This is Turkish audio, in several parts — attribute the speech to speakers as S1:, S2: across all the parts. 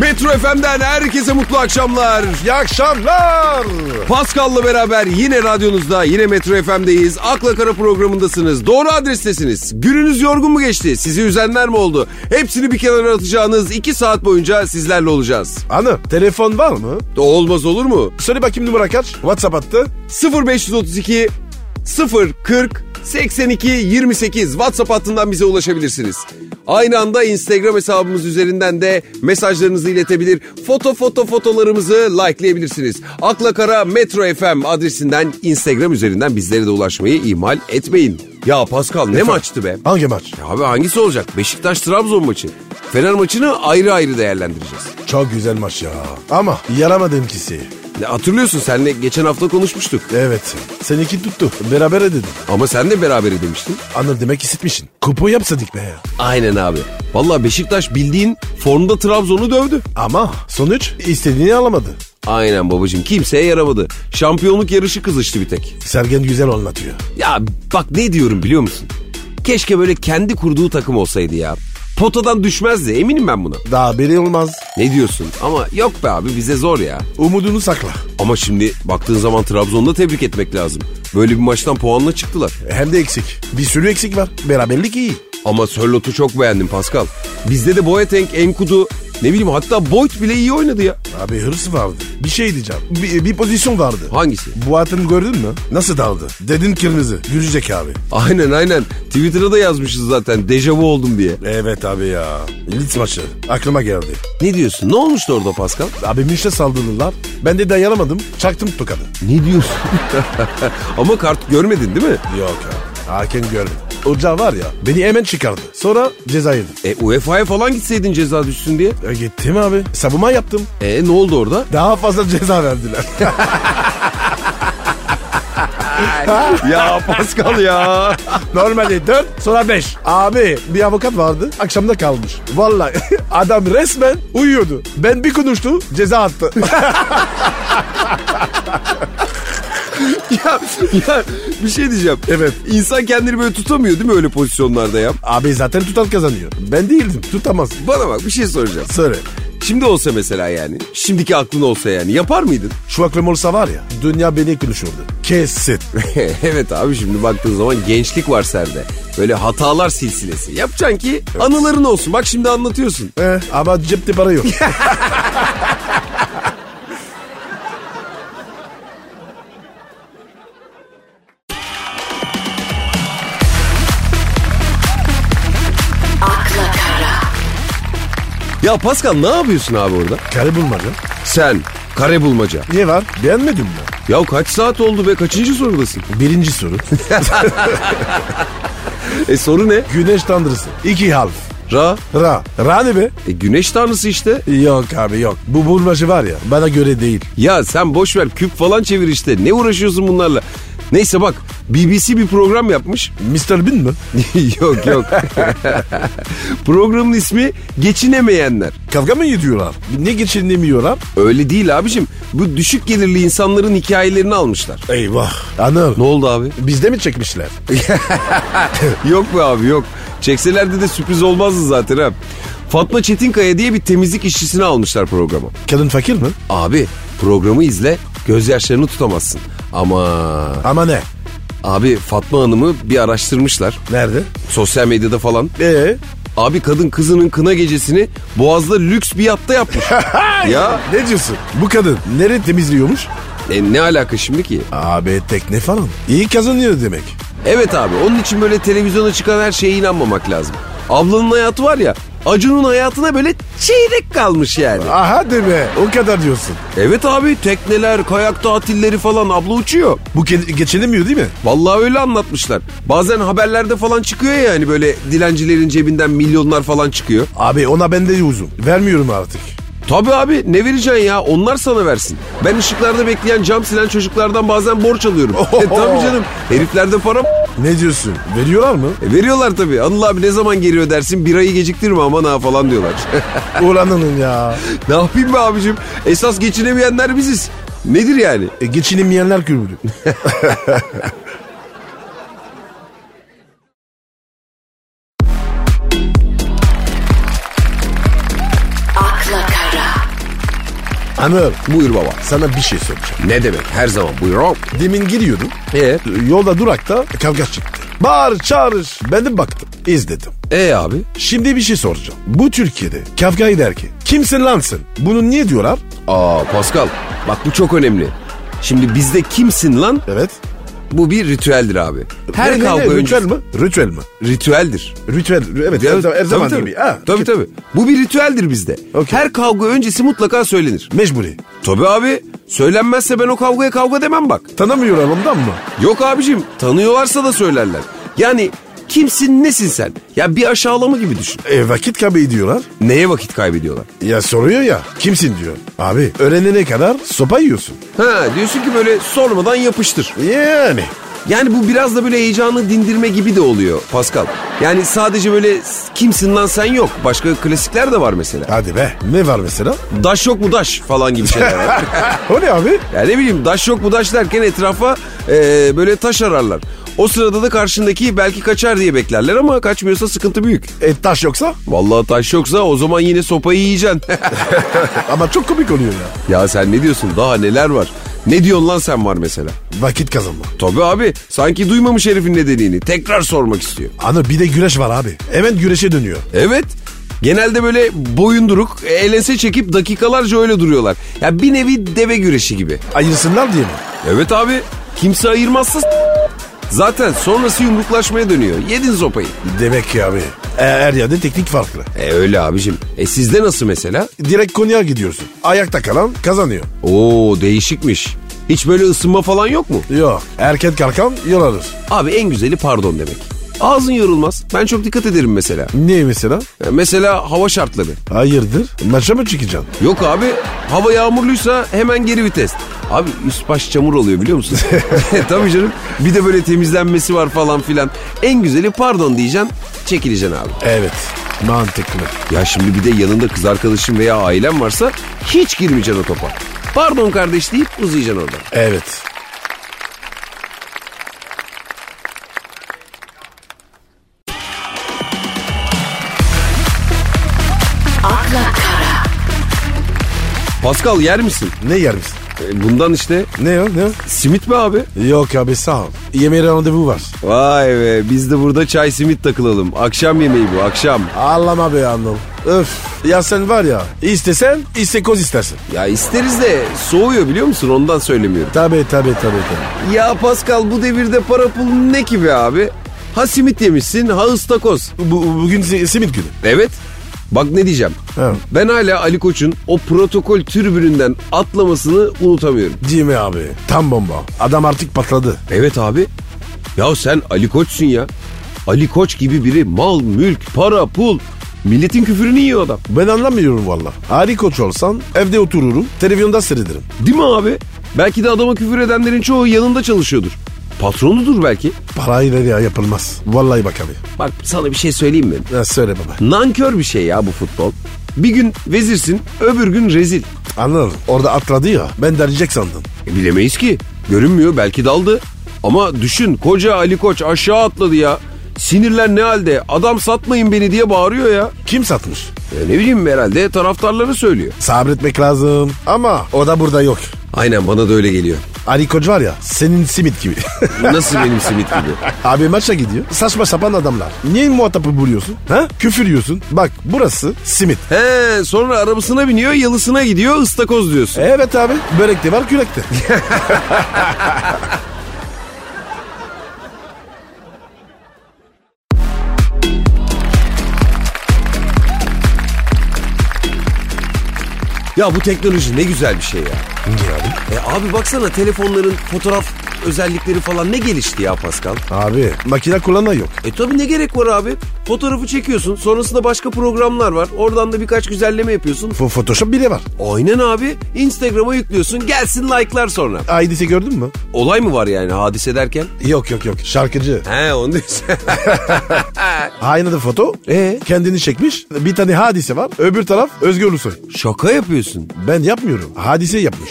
S1: Metro FM'den herkese mutlu akşamlar.
S2: İyi akşamlar.
S1: Pascal'la beraber yine radyonuzda, yine Metro FM'deyiz. Akla Kara programındasınız. Doğru adrestesiniz. Gününüz yorgun mu geçti? Sizi üzenler mi oldu? Hepsini bir kenara atacağınız 2 saat boyunca sizlerle olacağız.
S2: Anı telefon var mı?
S1: Olmaz olur mu?
S2: Söyle bakayım numara kaç? WhatsApp attı.
S1: 0532 040 82 28 WhatsApp hattından bize ulaşabilirsiniz. Aynı anda Instagram hesabımız üzerinden de mesajlarınızı iletebilir, foto foto fotolarımızı likeleyebilirsiniz. Akla Kara Metro FM adresinden Instagram üzerinden bizlere de ulaşmayı ihmal etmeyin. Ya Pascal ne maçtı be?
S2: Hangi maç?
S1: Ya Abi hangisi olacak? Beşiktaş-Trabzon maçı. Fener maçını ayrı ayrı değerlendireceğiz.
S2: Çok güzel maç ya. Ama yaramadım kisi.
S1: Ya Hatırlıyorsun senle geçen hafta konuşmuştuk.
S2: Evet. Seninki tuttu. Beraber dedim.
S1: Ama sen de beraber demiştin.
S2: Anı demek hissetmişsin. Kupu yapsadık be.
S1: Aynen abi. Valla Beşiktaş bildiğin formda Trabzon'u dövdü.
S2: Ama sonuç istediğini alamadı.
S1: Aynen babacığım kimseye yaramadı. Şampiyonluk yarışı kızıştı bir tek.
S2: Sergen güzel anlatıyor.
S1: Ya bak ne diyorum biliyor musun? Keşke böyle kendi kurduğu takım olsaydı ya. Potadan düşmezdi eminim ben buna.
S2: Daha beri olmaz.
S1: Ne diyorsun? Ama yok be abi bize zor ya.
S2: Umudunu sakla.
S1: Ama şimdi baktığın zaman Trabzon'da tebrik etmek lazım. Böyle bir maçtan puanla çıktılar.
S2: Hem de eksik. Bir sürü eksik var. Beraberlik iyi.
S1: Ama Sörlot'u çok beğendim Pascal. Bizde de Boateng, Enkudu, ne bileyim hatta Boyd bile iyi oynadı ya.
S2: Abi hırs vardı. Bir şey diyeceğim. Bir, bir pozisyon vardı.
S1: Hangisi?
S2: Bu atını gördün mü? Nasıl daldı? Dedim kırmızı. Gülecek abi.
S1: Aynen aynen. Twitter'da da yazmışız zaten dejavu oldum diye.
S2: Evet abi ya. Leeds maçı. Aklıma geldi.
S1: Ne diyorsun? Ne olmuştu orada Pascal?
S2: Abi Münş'e saldırdılar. Ben de dayanamadım. Çaktım tokadı.
S1: Ne diyorsun? Ama kart görmedin değil mi?
S2: Yok abi. Hakem gördüm. Ocağı var ya beni hemen çıkardı. Sonra ceza yedim.
S1: E UEFA'ya falan gitseydin ceza düşsün diye.
S2: E, gittim abi. Savunma yaptım.
S1: E ne oldu orada?
S2: Daha fazla ceza verdiler.
S1: ya Pascal ya.
S2: Normali 4 sonra 5. Abi bir avukat vardı akşamda kalmış. Vallahi adam resmen uyuyordu. Ben bir konuştu ceza attı.
S1: ya. Ya bir şey diyeceğim.
S2: Evet.
S1: İnsan kendini böyle tutamıyor değil mi öyle pozisyonlarda ya?
S2: abi zaten tutan kazanıyor. Ben değildim tutamaz.
S1: Bana bak bir şey soracağım.
S2: Söyle.
S1: Şimdi olsa mesela yani. Şimdiki aklın olsa yani. Yapar mıydın?
S2: Şu aklım olsa var ya dünya beni konuşurdu. Kesin.
S1: evet abi şimdi baktığın zaman gençlik var sende. Böyle hatalar silsilesi. Yapacaksın ki anıların olsun. Bak şimdi anlatıyorsun.
S2: Eh, ama cepte para yok.
S3: akla kara,
S1: Ya Pascal ne yapıyorsun abi orada?
S2: Kare bulmadı.
S1: Sen kare bulmaca.
S2: Niye var? Beğenmedin mi?
S1: Ya kaç saat oldu be kaçıncı sorudasın?
S2: Birinci soru.
S1: E soru ne?
S2: Güneş tanrısı. İki harf.
S1: Ra.
S2: Ra. Ra ne be?
S1: E, güneş tanrısı işte.
S2: Yok abi yok. Bu bulmaşı var ya bana göre değil.
S1: Ya sen boş ver küp falan çevir işte. Ne uğraşıyorsun bunlarla? Neyse bak BBC bir program yapmış.
S2: Mr. Bean mi?
S1: yok yok. Programın ismi Geçinemeyenler.
S2: Kavga mı ediyorlar? Ne geçinemiyorlar?
S1: Öyle değil abicim. Bu düşük gelirli insanların hikayelerini almışlar.
S2: Eyvah. Anıl.
S1: Ne oldu abi?
S2: Bizde mi çekmişler?
S1: Yok be abi yok. Çekselerdi de sürpriz olmazdı zaten ha. Fatma Çetinkaya diye bir temizlik işçisini almışlar programa.
S2: Kadın fakir mi?
S1: Abi programı izle gözyaşlarını tutamazsın. Ama
S2: Ama ne?
S1: abi Fatma Hanım'ı bir araştırmışlar.
S2: Nerede?
S1: Sosyal medyada falan.
S2: Ee,
S1: Abi kadın kızının kına gecesini Boğaz'da lüks bir yatta yapmış. ya
S2: ne diyorsun? Bu kadın nereye temizliyormuş?
S1: e, ne alaka şimdi ki?
S2: Abi tekne falan. İyi kazanıyor demek.
S1: Evet abi onun için böyle televizyona çıkan her şeye inanmamak lazım. Ablanın hayatı var ya Acun'un hayatına böyle çeyrek kalmış yani.
S2: Aha de be o kadar diyorsun.
S1: Evet abi tekneler, kayak tatilleri falan abla uçuyor.
S2: Bu ke- geçinemiyor değil mi?
S1: Vallahi öyle anlatmışlar. Bazen haberlerde falan çıkıyor ya hani böyle dilencilerin cebinden milyonlar falan çıkıyor.
S2: Abi ona ben de uzun. Vermiyorum artık.
S1: Tabii abi ne vereceksin ya onlar sana versin. Ben ışıklarda bekleyen cam silen çocuklardan bazen borç alıyorum. e, tabii canım heriflerde para
S2: Ne diyorsun? Veriyorlar mı?
S1: E, veriyorlar tabii. Anıl abi ne zaman geliyor dersin bir ayı geciktirme aman ha falan diyorlar.
S2: Ulan Anıl ya.
S1: ne yapayım be abicim esas geçinemeyenler biziz. Nedir yani?
S2: E, geçinemeyenler kulübü.
S3: akla kara,
S2: Anıl
S1: Buyur baba.
S2: sana bir şey soracağım.
S1: Ne demek her zaman buyur o.
S2: Demin giriyordum.
S1: E,
S2: Yolda durakta kavga çıktı. Bağır çağırır. Ben de baktım. izledim.
S1: e abi.
S2: Şimdi bir şey soracağım. Bu Türkiye'de kavga eder ki kimsin lansın? Bunu niye diyorlar?
S1: Aa Pascal bak bu çok önemli. Şimdi bizde kimsin lan?
S2: Evet.
S1: Bu bir ritüeldir abi. Her
S2: Ne, ne,
S1: kavga
S2: ne,
S1: öncesi...
S2: Ritüel mi? Ritüel mi?
S1: Ritüeldir.
S2: Ritüel. Evet. Her, zaman- her
S1: Tabii,
S2: zaman
S1: tabii.
S2: gibi. Ha,
S1: tabii tabii. Bu bir ritüeldir bizde.
S2: Okey.
S1: Her kavga öncesi mutlaka söylenir.
S2: Mecburi.
S1: Tabii abi. Söylenmezse ben o kavgaya kavga demem bak.
S2: Tanımıyorlar ondan mı?
S1: Yok abicim tanıyorlarsa da söylerler. Yani kimsin nesin sen? Ya bir aşağılama gibi düşün.
S2: E, vakit kaybı diyorlar.
S1: Neye vakit kaybediyorlar?
S2: Ya soruyor ya kimsin diyor. Abi öğrenene kadar sopa yiyorsun.
S1: Ha diyorsun ki böyle sormadan yapıştır.
S2: Yani.
S1: Yani bu biraz da böyle heyecanı dindirme gibi de oluyor Pascal. Yani sadece böyle s- kimsin lan sen yok. Başka klasikler de var mesela.
S2: Hadi be. Ne var mesela?
S1: Daş yok mu daş falan gibi şeyler var.
S2: o ne abi?
S1: Ya ne bileyim daş yok bu daş derken etrafa e, böyle taş ararlar. O sırada da karşındaki belki kaçar diye beklerler ama kaçmıyorsa sıkıntı büyük.
S2: E, taş yoksa?
S1: Vallahi taş yoksa o zaman yine sopayı yiyeceksin.
S2: Ama çok komik oluyor ya.
S1: ya sen ne diyorsun daha neler var? Ne diyorsun lan sen var mesela?
S2: Vakit kazanma.
S1: Tabii abi sanki duymamış herifin nedenini tekrar sormak istiyor.
S2: Anı bir de güreş var abi. Hemen güreşe dönüyor.
S1: Evet genelde böyle boyunduruk elense çekip dakikalarca öyle duruyorlar. Ya bir nevi deve güreşi gibi.
S2: Ayırsınlar diye mi?
S1: Evet abi kimse ayırmazsa s- Zaten sonrası yumruklaşmaya dönüyor. Yedin sopayı.
S2: Demek ki abi. E, her yerde teknik farklı.
S1: E öyle abicim. E sizde nasıl mesela?
S2: Direkt konuya gidiyorsun. Ayakta kalan kazanıyor.
S1: Oo değişikmiş. Hiç böyle ısınma falan yok mu?
S2: Yok. Erken kalkan yol alır.
S1: Abi en güzeli pardon demek. Ağzın yorulmaz. Ben çok dikkat ederim mesela.
S2: Niye mesela?
S1: E, Mesela hava şartları.
S2: Hayırdır? Maça mı çıkacaksın?
S1: Yok abi hava yağmurluysa hemen geri vites. Abi üst baş çamur oluyor biliyor musun? Tabii canım. Bir de böyle temizlenmesi var falan filan. En güzeli pardon diyeceksin. Çekileceksin abi.
S2: Evet. Mantıklı.
S1: Ya şimdi bir de yanında kız arkadaşın veya ailen varsa hiç girmeyeceksin o topa. Pardon kardeş deyip uzayacaksın orada.
S2: Evet.
S1: Pascal yer misin?
S2: Ne yer misin?
S1: E, Bundan işte
S2: Ne o ne o?
S1: simit mi abi?
S2: Yok abi sağ ol. Yemeğe randevu var.
S1: Vay be biz de burada çay simit takılalım. Akşam yemeği bu akşam.
S2: Ağlama be annem. Öf. Ya sen var ya istesen istekoz istersin.
S1: Ya isteriz de soğuyor biliyor musun ondan söylemiyorum.
S2: Tabi tabi tabi tabi.
S1: Ya Pascal bu devirde para pul ne ki be abi? Ha simit yemişsin ha ıstakoz.
S2: Bu, bugün si- simit günü.
S1: Evet bak ne diyeceğim.
S2: Evet.
S1: Ben hala Ali Koç'un o protokol türbününden atlamasını unutamıyorum.
S2: Değil mi abi? Tam bomba. Adam artık patladı.
S1: Evet abi. Ya sen Ali Koç'sun ya. Ali Koç gibi biri mal, mülk, para, pul. Milletin küfürünü yiyor adam.
S2: Ben anlamıyorum valla. Ali Koç olsan evde otururum, televizyonda seyrederim.
S1: Değil mi abi? Belki de adama küfür edenlerin çoğu yanında çalışıyordur. Patronudur belki.
S2: Parayla ya yapılmaz. Vallahi bak abi.
S1: Bak sana bir şey söyleyeyim mi?
S2: Ya söyle baba.
S1: Nankör bir şey ya bu futbol. Bir gün vezirsin, öbür gün rezil.
S2: Anladım. Orada atladı ya. Ben derecek sandım.
S1: E, bilemeyiz ki. Görünmüyor belki daldı. Ama düşün koca Ali Koç aşağı atladı ya. Sinirler ne halde? Adam satmayın beni diye bağırıyor ya.
S2: Kim satmış?
S1: E, ne bileyim herhalde taraftarları söylüyor.
S2: Sabretmek lazım. Ama o da burada yok.
S1: Aynen bana da öyle geliyor.
S2: Ali Koç var ya senin simit gibi.
S1: Nasıl benim simit gibi?
S2: Abi maça gidiyor. Saçma sapan adamlar. Niye muhatabı buluyorsun? Ha? Küfür yiyorsun. Bak burası simit.
S1: He sonra arabasına biniyor yalısına gidiyor ıstakoz diyorsun.
S2: Evet abi. Börek de var kürek de.
S1: Ya bu teknoloji ne güzel bir şey ya.
S2: Niye abi?
S1: E abi baksana telefonların fotoğraf özellikleri falan ne gelişti ya Pascal.
S2: Abi makine kullanan yok.
S1: E tabi ne gerek var abi? Fotoğrafı çekiyorsun sonrasında başka programlar var. Oradan da birkaç güzelleme yapıyorsun.
S2: Fo- Photoshop bile var.
S1: Aynen abi Instagram'a yüklüyorsun gelsin like'lar sonra.
S2: Aidisi gördün mü?
S1: Olay mı var yani hadise derken?
S2: Yok yok yok. Şarkıcı.
S1: He onu diyorsun.
S2: Aynada foto. E?
S1: Ee?
S2: Kendini çekmiş. Bir tane hadise var. Öbür taraf Özgür Ulusoy.
S1: Şaka yapıyorsun.
S2: Ben yapmıyorum. Hadise yapmış.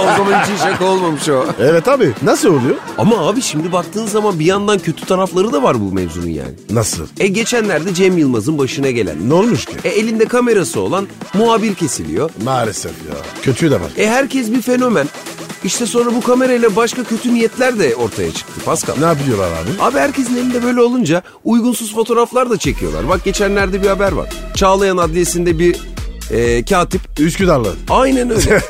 S1: o zaman hiç iyi şaka olmamış o.
S2: evet abi. Nasıl oluyor?
S1: Ama abi şimdi baktığın zaman bir yandan kötü tarafları da var bu mevzunun yani.
S2: Nasıl?
S1: E geçen Geçenlerde Cem Yılmaz'ın başına gelen.
S2: Ne olmuş ki?
S1: E, elinde kamerası olan muhabir kesiliyor.
S2: Maalesef ya. Kötü de var.
S1: E herkes bir fenomen. İşte sonra bu kamerayla başka kötü niyetler de ortaya çıktı Pascal.
S2: Ne yapıyorlar abi?
S1: Abi herkesin elinde böyle olunca uygunsuz fotoğraflar da çekiyorlar. Bak geçenlerde bir haber var. Çağlayan Adliyesi'nde bir e, katip
S2: Üsküdarlı.
S1: aynen öyle.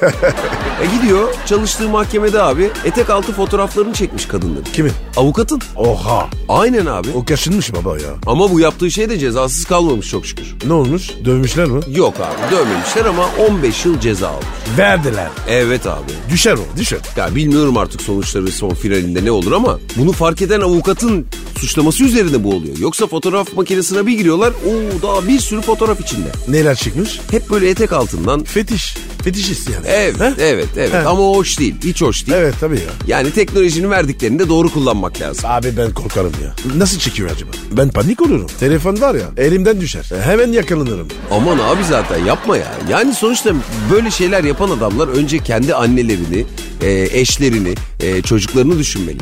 S1: e, gidiyor çalıştığı mahkemede abi etek altı fotoğraflarını çekmiş kadınların.
S2: Kimin?
S1: Avukatın.
S2: Oha.
S1: Aynen abi.
S2: O kaşınmış baba ya.
S1: Ama bu yaptığı şey de cezasız kalmamış çok şükür.
S2: Ne olmuş? Dövmüşler mi?
S1: Yok abi dövmemişler ama 15 yıl ceza almış.
S2: Verdiler.
S1: Evet abi.
S2: Düşer o düşer.
S1: Ya bilmiyorum artık sonuçları son finalinde ne olur ama bunu fark eden avukatın suçlaması üzerine bu oluyor. Yoksa fotoğraf makinesine bir giriyorlar o daha bir sürü fotoğraf içinde.
S2: Neler çıkmış?
S1: Hep böyle etek altından
S2: Fetiş. Fetişist yani.
S1: evet
S2: Ha?
S1: evet evet
S2: He.
S1: ama o hoş değil hiç hoş değil.
S2: Evet tabii ya.
S1: Yani teknolojinin verdiklerini de doğru kullanmak lazım.
S2: Abi ben korkarım ya. Nasıl çekiyor acaba? Ben panik olurum. Telefon var ya elimden düşer. E, Hemen yakalanırım.
S1: Aman abi zaten yapma ya. Yani sonuçta böyle şeyler yapan adamlar önce kendi annelerini, e, eşlerini, e, çocuklarını düşünmeli.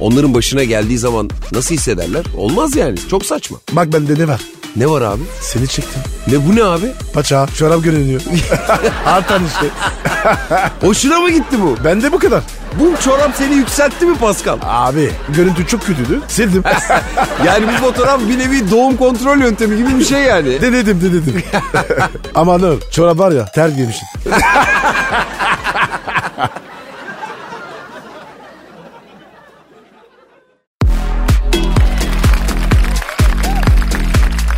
S1: Onların başına geldiği zaman nasıl hissederler? Olmaz yani. Çok saçma.
S2: Bak bende ne var?
S1: Ne var abi?
S2: Seni çektim.
S1: Ne bu ne abi?
S2: Paça, çorap görünüyor. Artan işte.
S1: Hoşuna mı gitti bu?
S2: Bende bu kadar.
S1: Bu çorap seni yükseltti mi Pascal?
S2: Abi görüntü çok kötüydü. Sildim.
S1: Yani bu fotoğraf bir nevi doğum kontrol yöntemi gibi bir şey yani.
S2: denedim denedim. Ama ne çorap var ya ter giymişim.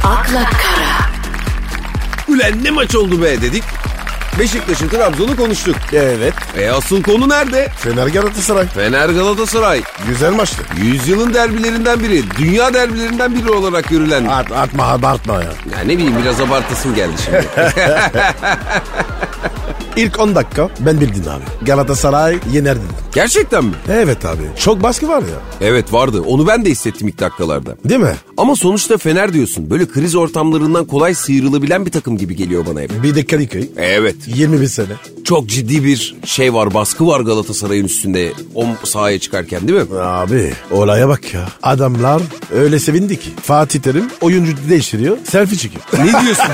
S3: akla kara,
S1: Ulan ne maç oldu be dedik. Beşiktaş'ın Trabzon'u konuştuk.
S2: Evet.
S1: E asıl konu nerede?
S2: Fener Galatasaray.
S1: Fener Galatasaray.
S2: Güzel maçtı.
S1: Yüzyılın derbilerinden biri, dünya derbilerinden biri olarak görülen.
S2: At, atma abartma ya.
S1: Ya ne bileyim biraz abartasım geldi şimdi.
S2: İlk 10 dakika ben bildim abi. Galatasaray yener dedim.
S1: Gerçekten mi?
S2: Evet abi. Çok baskı var ya.
S1: Evet vardı. Onu ben de hissettim ilk dakikalarda.
S2: Değil mi?
S1: Ama sonuçta Fener diyorsun. Böyle kriz ortamlarından kolay sıyrılabilen bir takım gibi geliyor bana hep.
S2: Bir de Kadıköy.
S1: Evet.
S2: 21 sene.
S1: Çok ciddi bir şey var, baskı var Galatasaray'ın üstünde o sahaya çıkarken değil mi?
S2: Abi olaya bak ya. Adamlar öyle sevindi ki. Fatih Terim oyuncu değiştiriyor. Selfie çekiyor.
S1: Ne diyorsun?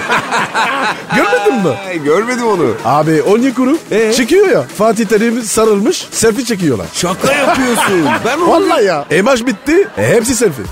S2: Görmedin mi?
S1: Ay, görmedim onu.
S2: Abi Onyekuru
S1: Ee?
S2: çıkıyor ya. Fatih Terim sarılmış. Selfie çekiyorlar.
S1: Şaka yapıyorsun. Ben onu...
S2: Vallahi ya. E maç bitti. E, hepsi selfie.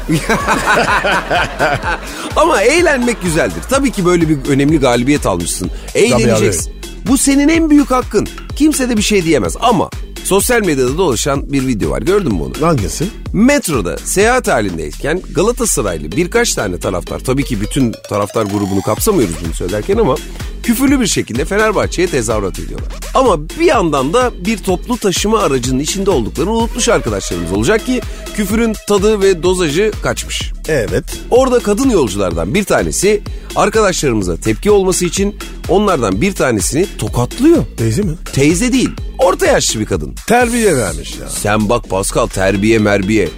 S1: Ama eğlenmek güzeldir. Tabii ki böyle bir önemli galibiyet almışsın. Eğleneceksin. Bu senin en büyük hakkın. Kimse de bir şey diyemez ama sosyal medyada dolaşan bir video var. Gördün mü onu?
S2: Hangisi?
S1: Metroda seyahat halindeyken Galatasaraylı birkaç tane taraftar tabii ki bütün taraftar grubunu kapsamıyoruz bunu söylerken ama küfürlü bir şekilde Fenerbahçe'ye tezahürat ediyorlar. Ama bir yandan da bir toplu taşıma aracının içinde olduklarını unutmuş arkadaşlarımız olacak ki küfürün tadı ve dozajı kaçmış.
S2: Evet.
S1: Orada kadın yolculardan bir tanesi arkadaşlarımıza tepki olması için onlardan bir tanesini tokatlıyor.
S2: Teyze mi?
S1: Teyze değil, orta yaşlı bir kadın.
S2: Terbiye vermiş ya.
S1: Sen bak Pascal terbiye merbiye.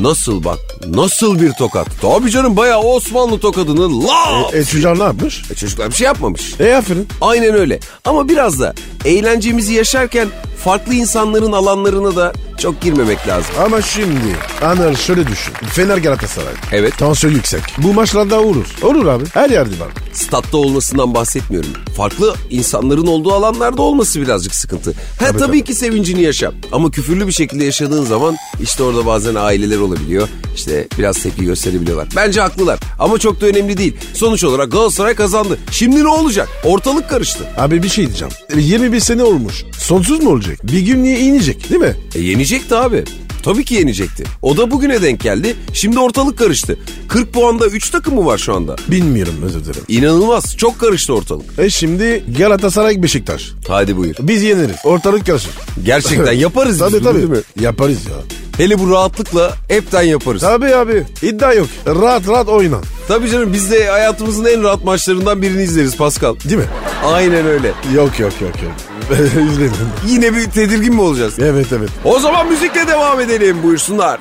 S1: Nasıl bak nasıl bir tokat. Tabii canım bayağı Osmanlı tokadını la.
S2: E çocuğa ne yapmış?
S1: E çocuklar bir şey yapmamış.
S2: E aferin.
S1: Aynen öyle. Ama biraz da eğlencemizi yaşarken farklı insanların alanlarına da çok girmemek lazım.
S2: Ama şimdi Anıl şöyle düşün. Fener Galatasaray.
S1: Evet.
S2: Tansiyon yüksek. Bu maçlarda olur. Olur abi. Her yerde var.
S1: Statta olmasından bahsetmiyorum. Farklı insanların olduğu alanlarda olması birazcık sıkıntı. Ha tabii,
S2: tabii.
S1: ki sevincini yaşa. Ama küfürlü bir şekilde yaşadığın zaman işte orada bazen aileler olabiliyor. İşte biraz tepki gösterebiliyorlar. Bence haklılar ama çok da önemli değil. Sonuç olarak Galatasaray kazandı. Şimdi ne olacak? Ortalık karıştı.
S2: Abi bir şey diyeceğim. E, 21 sene olmuş. Sonsuz mu olacak? Bir gün niye inecek değil mi?
S1: E yenecekti abi. Tabii ki yenecekti. O da bugüne denk geldi. Şimdi ortalık karıştı. 40 puanda 3 takım mı var şu anda?
S2: Bilmiyorum özür dilerim.
S1: İnanılmaz. Çok karıştı ortalık.
S2: E şimdi Galatasaray Beşiktaş.
S1: Hadi buyur.
S2: Biz yeneriz. Ortalık karışır.
S1: Gerçekten yaparız biz
S2: tabii
S1: bunu,
S2: tabii.
S1: değil mi?
S2: Yaparız ya.
S1: Hele bu rahatlıkla hepten yaparız.
S2: Tabii abi. İddia yok. Rahat rahat oynan.
S1: Tabii canım biz de hayatımızın en rahat maçlarından birini izleriz Pascal.
S2: Değil mi?
S1: Aynen öyle.
S2: Yok yok yok yok. İzlemedim.
S1: Yine bir tedirgin mi olacağız?
S2: Evet evet.
S1: O zaman müzikle devam edelim buyursunlar.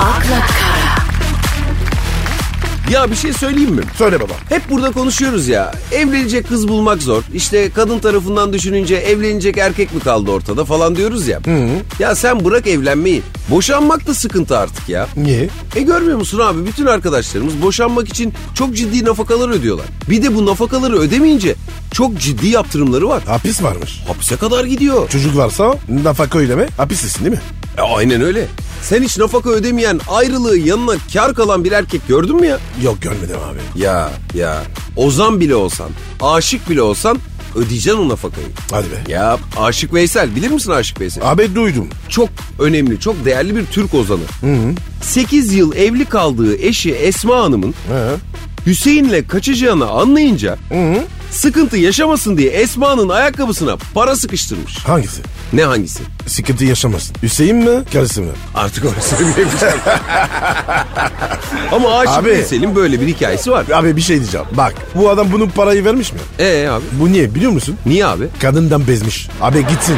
S3: akla kara,
S1: Ya bir şey söyleyeyim mi?
S2: Söyle baba.
S1: Hep burada konuşuyoruz ya. Evlenecek kız bulmak zor. İşte kadın tarafından düşününce evlenecek erkek mi kaldı ortada falan diyoruz ya. Ya sen bırak evlenmeyi. Boşanmak da sıkıntı artık ya.
S2: Niye?
S1: E görmüyor musun abi bütün arkadaşlarımız boşanmak için çok ciddi nafakalar ödüyorlar. Bir de bu nafakaları ödemeyince çok ciddi yaptırımları var.
S2: Hapis varmış.
S1: Hapse kadar gidiyor.
S2: Çocuk varsa nafaka ödeme hapistesin değil mi?
S1: E, aynen öyle. Sen hiç nafaka ödemeyen ayrılığı yanına kar kalan bir erkek gördün mü ya?
S2: Yok görmedim abi.
S1: Ya ya Ozan bile olsan, aşık bile olsan ödeyeceksin o nafakayı.
S2: Hadi be.
S1: Ya Aşık Veysel bilir misin Aşık Veysel?
S2: Abi duydum.
S1: Çok önemli, çok değerli bir Türk ozanı. 8 yıl evli kaldığı eşi Esma Hanım'ın
S2: He.
S1: Hüseyin'le kaçacağını anlayınca sıkıntı yaşamasın diye Esma'nın ayakkabısına para sıkıştırmış.
S2: Hangisi?
S1: Ne hangisi?
S2: Sıkıntı yaşamasın. Hüseyin mi? Karısı mı?
S1: Artık onu söyleyebileceğim. Ama Aşık
S2: Abi.
S1: Veysel'in böyle bir hikayesi var.
S2: Abi bir şey diyeceğim. Bak bu adam bunun parayı vermiş mi?
S1: Ee abi?
S2: Bu niye biliyor musun?
S1: Niye abi?
S2: Kadından bezmiş. Abi gitsin.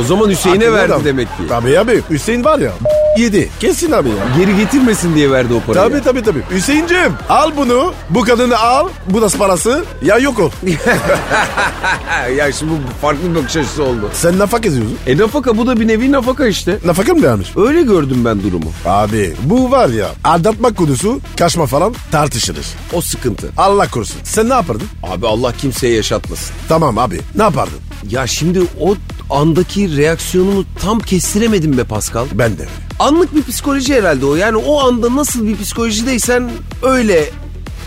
S1: O zaman Hüseyin'e
S2: Haklı
S1: verdi
S2: adam.
S1: demek ki.
S2: Tabii abi. Hüseyin var ya. Yedi. Kesin abi ya.
S1: Geri getirmesin diye verdi o parayı.
S2: Tabii tabii tabii. Hüseyinciğim al bunu. Bu kadını al. Bu da parası. Ya yok ol.
S1: Ha, ya şimdi bu farklı bir bakış açısı oldu.
S2: Sen nafaka ediyorsun.
S1: E nafaka bu da bir nevi nafaka işte.
S2: Nafaka mı vermiş?
S1: Öyle gördüm ben durumu.
S2: Abi bu var ya aldatma konusu kaçma falan tartışılır.
S1: O sıkıntı.
S2: Allah korusun. Sen ne yapardın?
S1: Abi Allah kimseye yaşatmasın.
S2: Tamam abi ne yapardın?
S1: Ya şimdi o andaki reaksiyonumu tam kestiremedim be Pascal.
S2: Ben de.
S1: Anlık bir psikoloji herhalde o. Yani o anda nasıl bir psikolojideysen öyle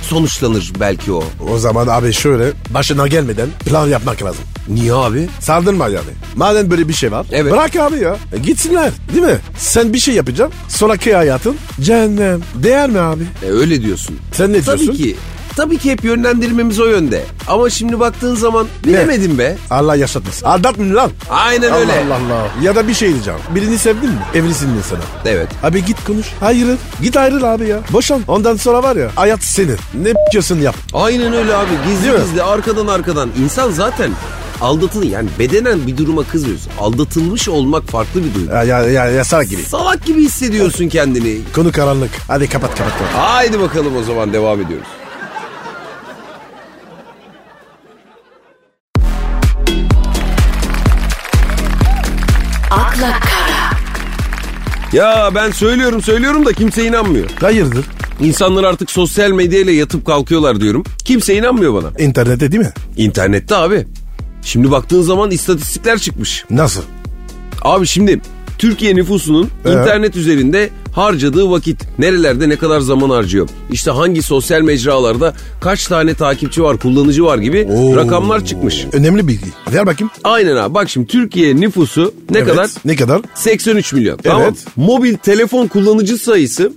S1: sonuçlanır belki o.
S2: O zaman abi şöyle başına gelmeden plan yapmak lazım.
S1: Niye abi?
S2: Sardırma yani. Madem böyle bir şey var.
S1: Evet.
S2: Bırak abi ya. E, gitsinler değil mi? Sen bir şey yapacaksın. Sonraki hayatın cehennem. Değer mi abi?
S1: E öyle diyorsun.
S2: Sen ne diyorsun?
S1: Tabii ki. Tabii ki hep yönlendirmemiz o yönde. Ama şimdi baktığın zaman bilemedim be.
S2: Allah yaşatmasın. Aldatmayın lan.
S1: Aynen
S2: Allah
S1: öyle.
S2: Allah Allah. Ya da bir şey diyeceğim. Birini sevdin mi? Evlisin mesela.
S1: Evet.
S2: Abi git konuş. Hayırın. Git ayrıl abi ya. Boşan. Ondan sonra var ya hayat senin. Ne yapıyorsun yap.
S1: Aynen öyle abi. Gizli
S2: Değil mi?
S1: gizli arkadan arkadan. İnsan zaten aldatıl yani bedenen bir duruma kızmıyorsun. Aldatılmış olmak farklı bir duygu.
S2: Ya, ya, ya, yasak gibi.
S1: Salak gibi hissediyorsun kendini.
S2: Konu karanlık. Hadi kapat kapat kapat.
S1: Haydi bakalım o zaman devam ediyoruz.
S3: akla kara,
S1: Ya ben söylüyorum söylüyorum da kimse inanmıyor.
S2: Hayırdır?
S1: İnsanlar artık sosyal medyayla yatıp kalkıyorlar diyorum. Kimse inanmıyor bana.
S2: İnternette değil mi?
S1: İnternette abi. Şimdi baktığın zaman istatistikler çıkmış.
S2: Nasıl?
S1: Abi şimdi Türkiye nüfusunun
S2: Ee?
S1: internet üzerinde harcadığı vakit nerelerde ne kadar zaman harcıyor? İşte hangi sosyal mecralarda kaç tane takipçi var, kullanıcı var gibi rakamlar çıkmış.
S2: Önemli bilgi. Ver bakayım.
S1: Aynen abi bak şimdi Türkiye nüfusu ne
S2: Evet.
S1: kadar?
S2: Ne kadar?
S1: 83 milyon. Tamam.
S2: Evet.
S1: Mobil telefon kullanıcı sayısı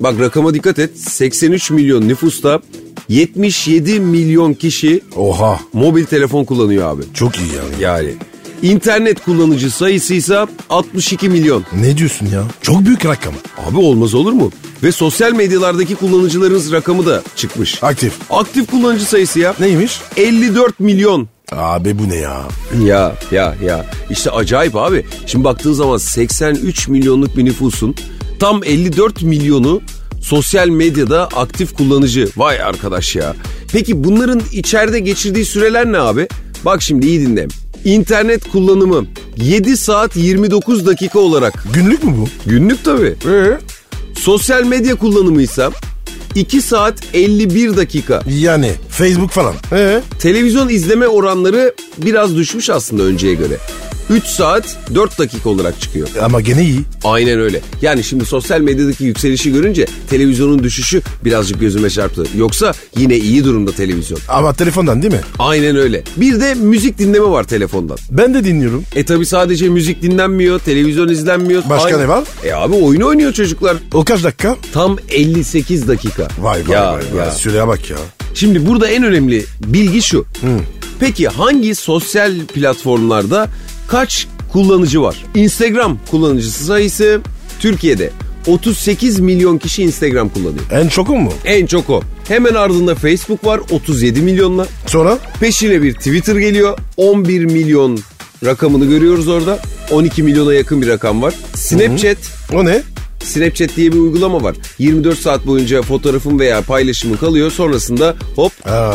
S1: bak rakama dikkat et. 83 milyon nüfusta 77 milyon kişi
S2: Oha.
S1: mobil telefon kullanıyor abi.
S2: Çok iyi yani.
S1: Yani internet kullanıcı sayısı ise 62 milyon.
S2: Ne diyorsun ya? Çok büyük rakam.
S1: Abi olmaz olur mu? Ve sosyal medyalardaki kullanıcılarınız rakamı da çıkmış.
S2: Aktif.
S1: Aktif kullanıcı sayısı ya.
S2: Neymiş?
S1: 54 milyon.
S2: Abi bu ne ya?
S1: Ya ya ya. İşte acayip abi. Şimdi baktığın zaman 83 milyonluk bir nüfusun tam 54 milyonu sosyal medyada aktif kullanıcı. Vay arkadaş ya. Peki bunların içeride geçirdiği süreler ne abi? Bak şimdi iyi dinle. İnternet kullanımı 7 saat 29 dakika olarak.
S2: Günlük mü bu?
S1: Günlük tabii.
S2: Ee?
S1: Sosyal medya kullanımıysa 2 saat 51 dakika.
S2: Yani Facebook falan. Ee?
S1: Televizyon izleme oranları biraz düşmüş aslında önceye göre. 3 saat 4 dakika olarak çıkıyor.
S2: Ama gene iyi.
S1: Aynen öyle. Yani şimdi sosyal medyadaki yükselişi görünce televizyonun düşüşü birazcık gözüme çarptı. Yoksa yine iyi durumda televizyon.
S2: Ama telefondan değil mi?
S1: Aynen öyle. Bir de müzik dinleme var telefondan.
S2: Ben de dinliyorum.
S1: E tabi sadece müzik dinlenmiyor, televizyon izlenmiyor.
S2: Başka ne var?
S1: E abi oyun oynuyor çocuklar.
S2: O kaç dakika?
S1: Tam 58 dakika.
S2: Vay vay
S1: Ya,
S2: vay. vay.
S1: ya.
S2: Süreye bak ya.
S1: Şimdi burada en önemli bilgi şu. Peki hangi sosyal platformlarda kaç kullanıcı var? Instagram kullanıcısı sayısı Türkiye'de 38 milyon kişi Instagram kullanıyor.
S2: En şokum mu?
S1: En çok o. Hemen ardında Facebook var 37 milyonla.
S2: Sonra?
S1: Peşine bir Twitter geliyor 11 milyon rakamını görüyoruz orada. 12 milyona yakın bir rakam var. Snapchat
S2: O ne?
S1: Snapchat diye bir uygulama var. 24 saat boyunca fotoğrafın veya paylaşımın kalıyor. Sonrasında hop
S2: Aa,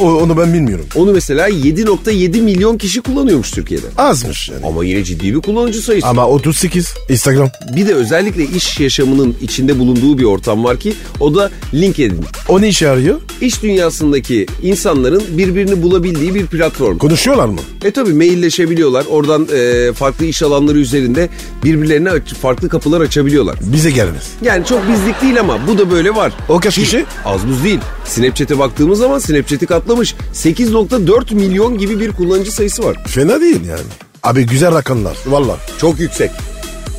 S2: o- onu ben bilmiyorum.
S1: onu mesela 7.7 milyon kişi kullanıyormuş Türkiye'de.
S2: Azmış yani.
S1: Ama yine ciddi bir kullanıcı sayısı.
S2: Ama 38 Instagram.
S1: Bir de özellikle iş yaşamının içinde bulunduğu bir ortam var ki o da LinkedIn.
S2: O ne işe yarıyor?
S1: İş dünyasındaki insanların birbirini bulabildiği bir platform.
S2: Konuşuyorlar mı?
S1: E tabi mailleşebiliyorlar. Oradan e, farklı iş alanları üzerinde birbirlerine aç- farklı kapılar açabiliyorlar.
S2: Bize gelmez.
S1: Yani çok bizlik değil ama bu da böyle var.
S2: O kaç kişi?
S1: Az buz değil. Snapchat'e baktığımız zaman Snapchat'i katlamış. 8.4 milyon gibi bir kullanıcı sayısı var.
S2: Fena değil yani. Abi güzel rakamlar. Valla.
S1: Çok yüksek.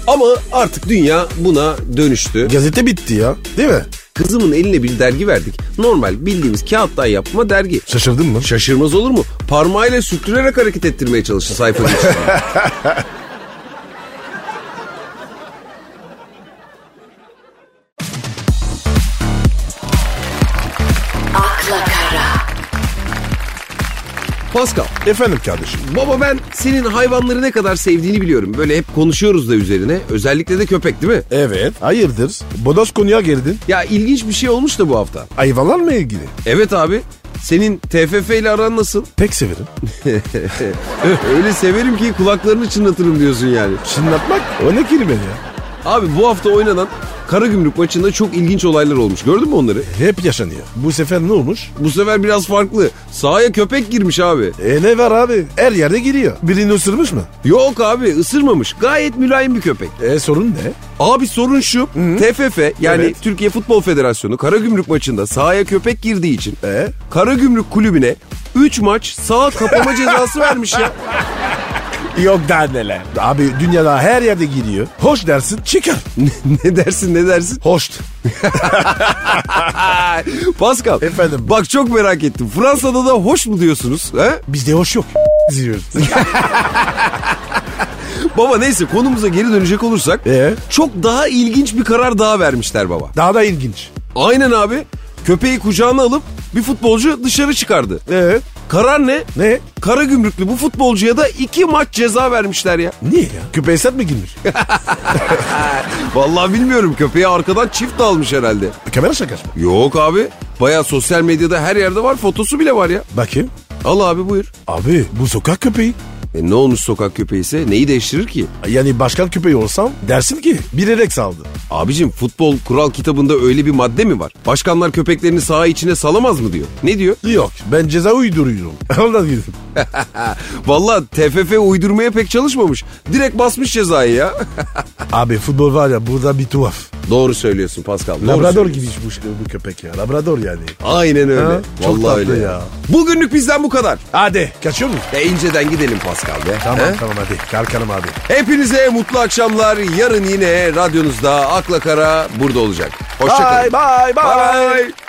S1: Ama artık dünya buna dönüştü.
S2: Gazete bitti ya. Değil mi?
S1: Kızımın eline bir dergi verdik. Normal bildiğimiz kağıttan yapma dergi.
S2: Şaşırdın mı?
S1: Şaşırmaz olur mu? Parmağıyla sürtürerek hareket ettirmeye çalıştı sayfanın içinde.
S3: akla kara,
S1: Pascal,
S2: Efendim kardeşim.
S1: baba ben senin hayvanları ne kadar sevdiğini biliyorum. Böyle hep konuşuyoruz da üzerine. Özellikle de köpek değil mi?
S2: Evet. Hayırdır? Bodos konuya girdin.
S1: Ya ilginç bir şey olmuş da bu hafta.
S2: Hayvanlar mı ilgili?
S1: Evet abi. Senin TFF ile aran nasıl?
S2: Pek severim.
S1: Öyle severim ki kulaklarını çınlatırım diyorsun yani.
S2: Çınlatmak o ne kelime ya?
S1: Abi bu hafta oynanan Karagümrük maçında çok ilginç olaylar olmuş. Gördün mü onları?
S2: Hep yaşanıyor. Bu sefer ne olmuş?
S1: Bu sefer biraz farklı. Sahaya köpek girmiş abi.
S2: E ne var abi? Her yerde giriyor. Birini ısırmış mı?
S1: Yok abi ısırmamış. Gayet mülayim bir köpek.
S2: E sorun ne?
S1: Abi sorun şu. TFF yani
S2: Evet.
S1: Türkiye Futbol Federasyonu Karagümrük maçında sahaya köpek girdiği için
S2: E?
S1: Karagümrük kulübüne 3 maç sağ kapama cezası vermiş ya.
S2: Yok daha neler. Abi dünyada her yerde giriyor. Hoş dersin çıkar.
S1: ne dersin ne dersin?
S2: Hoş.
S1: Ay, Pascal.
S2: Efendim?
S1: Bak çok merak ettim. Fransa'da da hoş mu diyorsunuz? He?
S2: Bizde hoş yok. Diyoruz.
S1: Baba neyse konumuza geri dönecek olursak.
S2: Ee?
S1: Çok daha ilginç bir karar daha vermişler baba.
S2: Daha da ilginç.
S1: Aynen abi. Köpeği kucağına alıp bir futbolcu dışarı çıkardı.
S2: E
S1: Karar ne?
S2: ne?
S1: Kara gümrüklü bu futbolcuya da iki maç ceza vermişler ya.
S2: Niye ya? Küpe Esat mı girmiş?
S1: Vallahi bilmiyorum köpeği arkadan çift almış herhalde.
S2: Kamera şakası mı?
S1: Yok abi. Baya sosyal medyada her yerde var fotosu bile var ya.
S2: Bakayım.
S1: Al abi buyur.
S2: Abi bu sokak köpeği.
S1: E ne olmuş sokak köpeği ise neyi değiştirir ki?
S2: Yani başkan köpeği olsam dersin ki birerek saldı.
S1: Abicim futbol kural kitabında öyle bir madde mi var? Başkanlar köpeklerini saha içine salamaz mı diyor. Ne diyor?
S2: Yok ben ceza uyduruyorum. Ondan girdim.
S1: Vallahi TFF uydurmaya pek çalışmamış. Direkt basmış cezayı ya.
S2: Abi futbol var ya burada bir tuhaf.
S1: Doğru söylüyorsun Pascal. doğru
S2: Labrador
S1: söylüyorsun.
S2: gibi bu, bu köpek ya. Labrador yani.
S1: Aynen öyle.
S2: Ha,
S1: Vallahi
S2: çok tatlı
S1: öyle.
S2: ya.
S1: Bugünlük bizden bu kadar.
S2: Hadi. Kaçıyor muyuz?
S1: E inceden gidelim Pascal be.
S2: Tamam
S1: He?
S2: tamam hadi. Kalkalım abi.
S1: Hepinize mutlu akşamlar. Yarın yine radyonuzda Akla Kara burada olacak. Hoşçakalın.
S2: Bye bye bye.
S1: bye.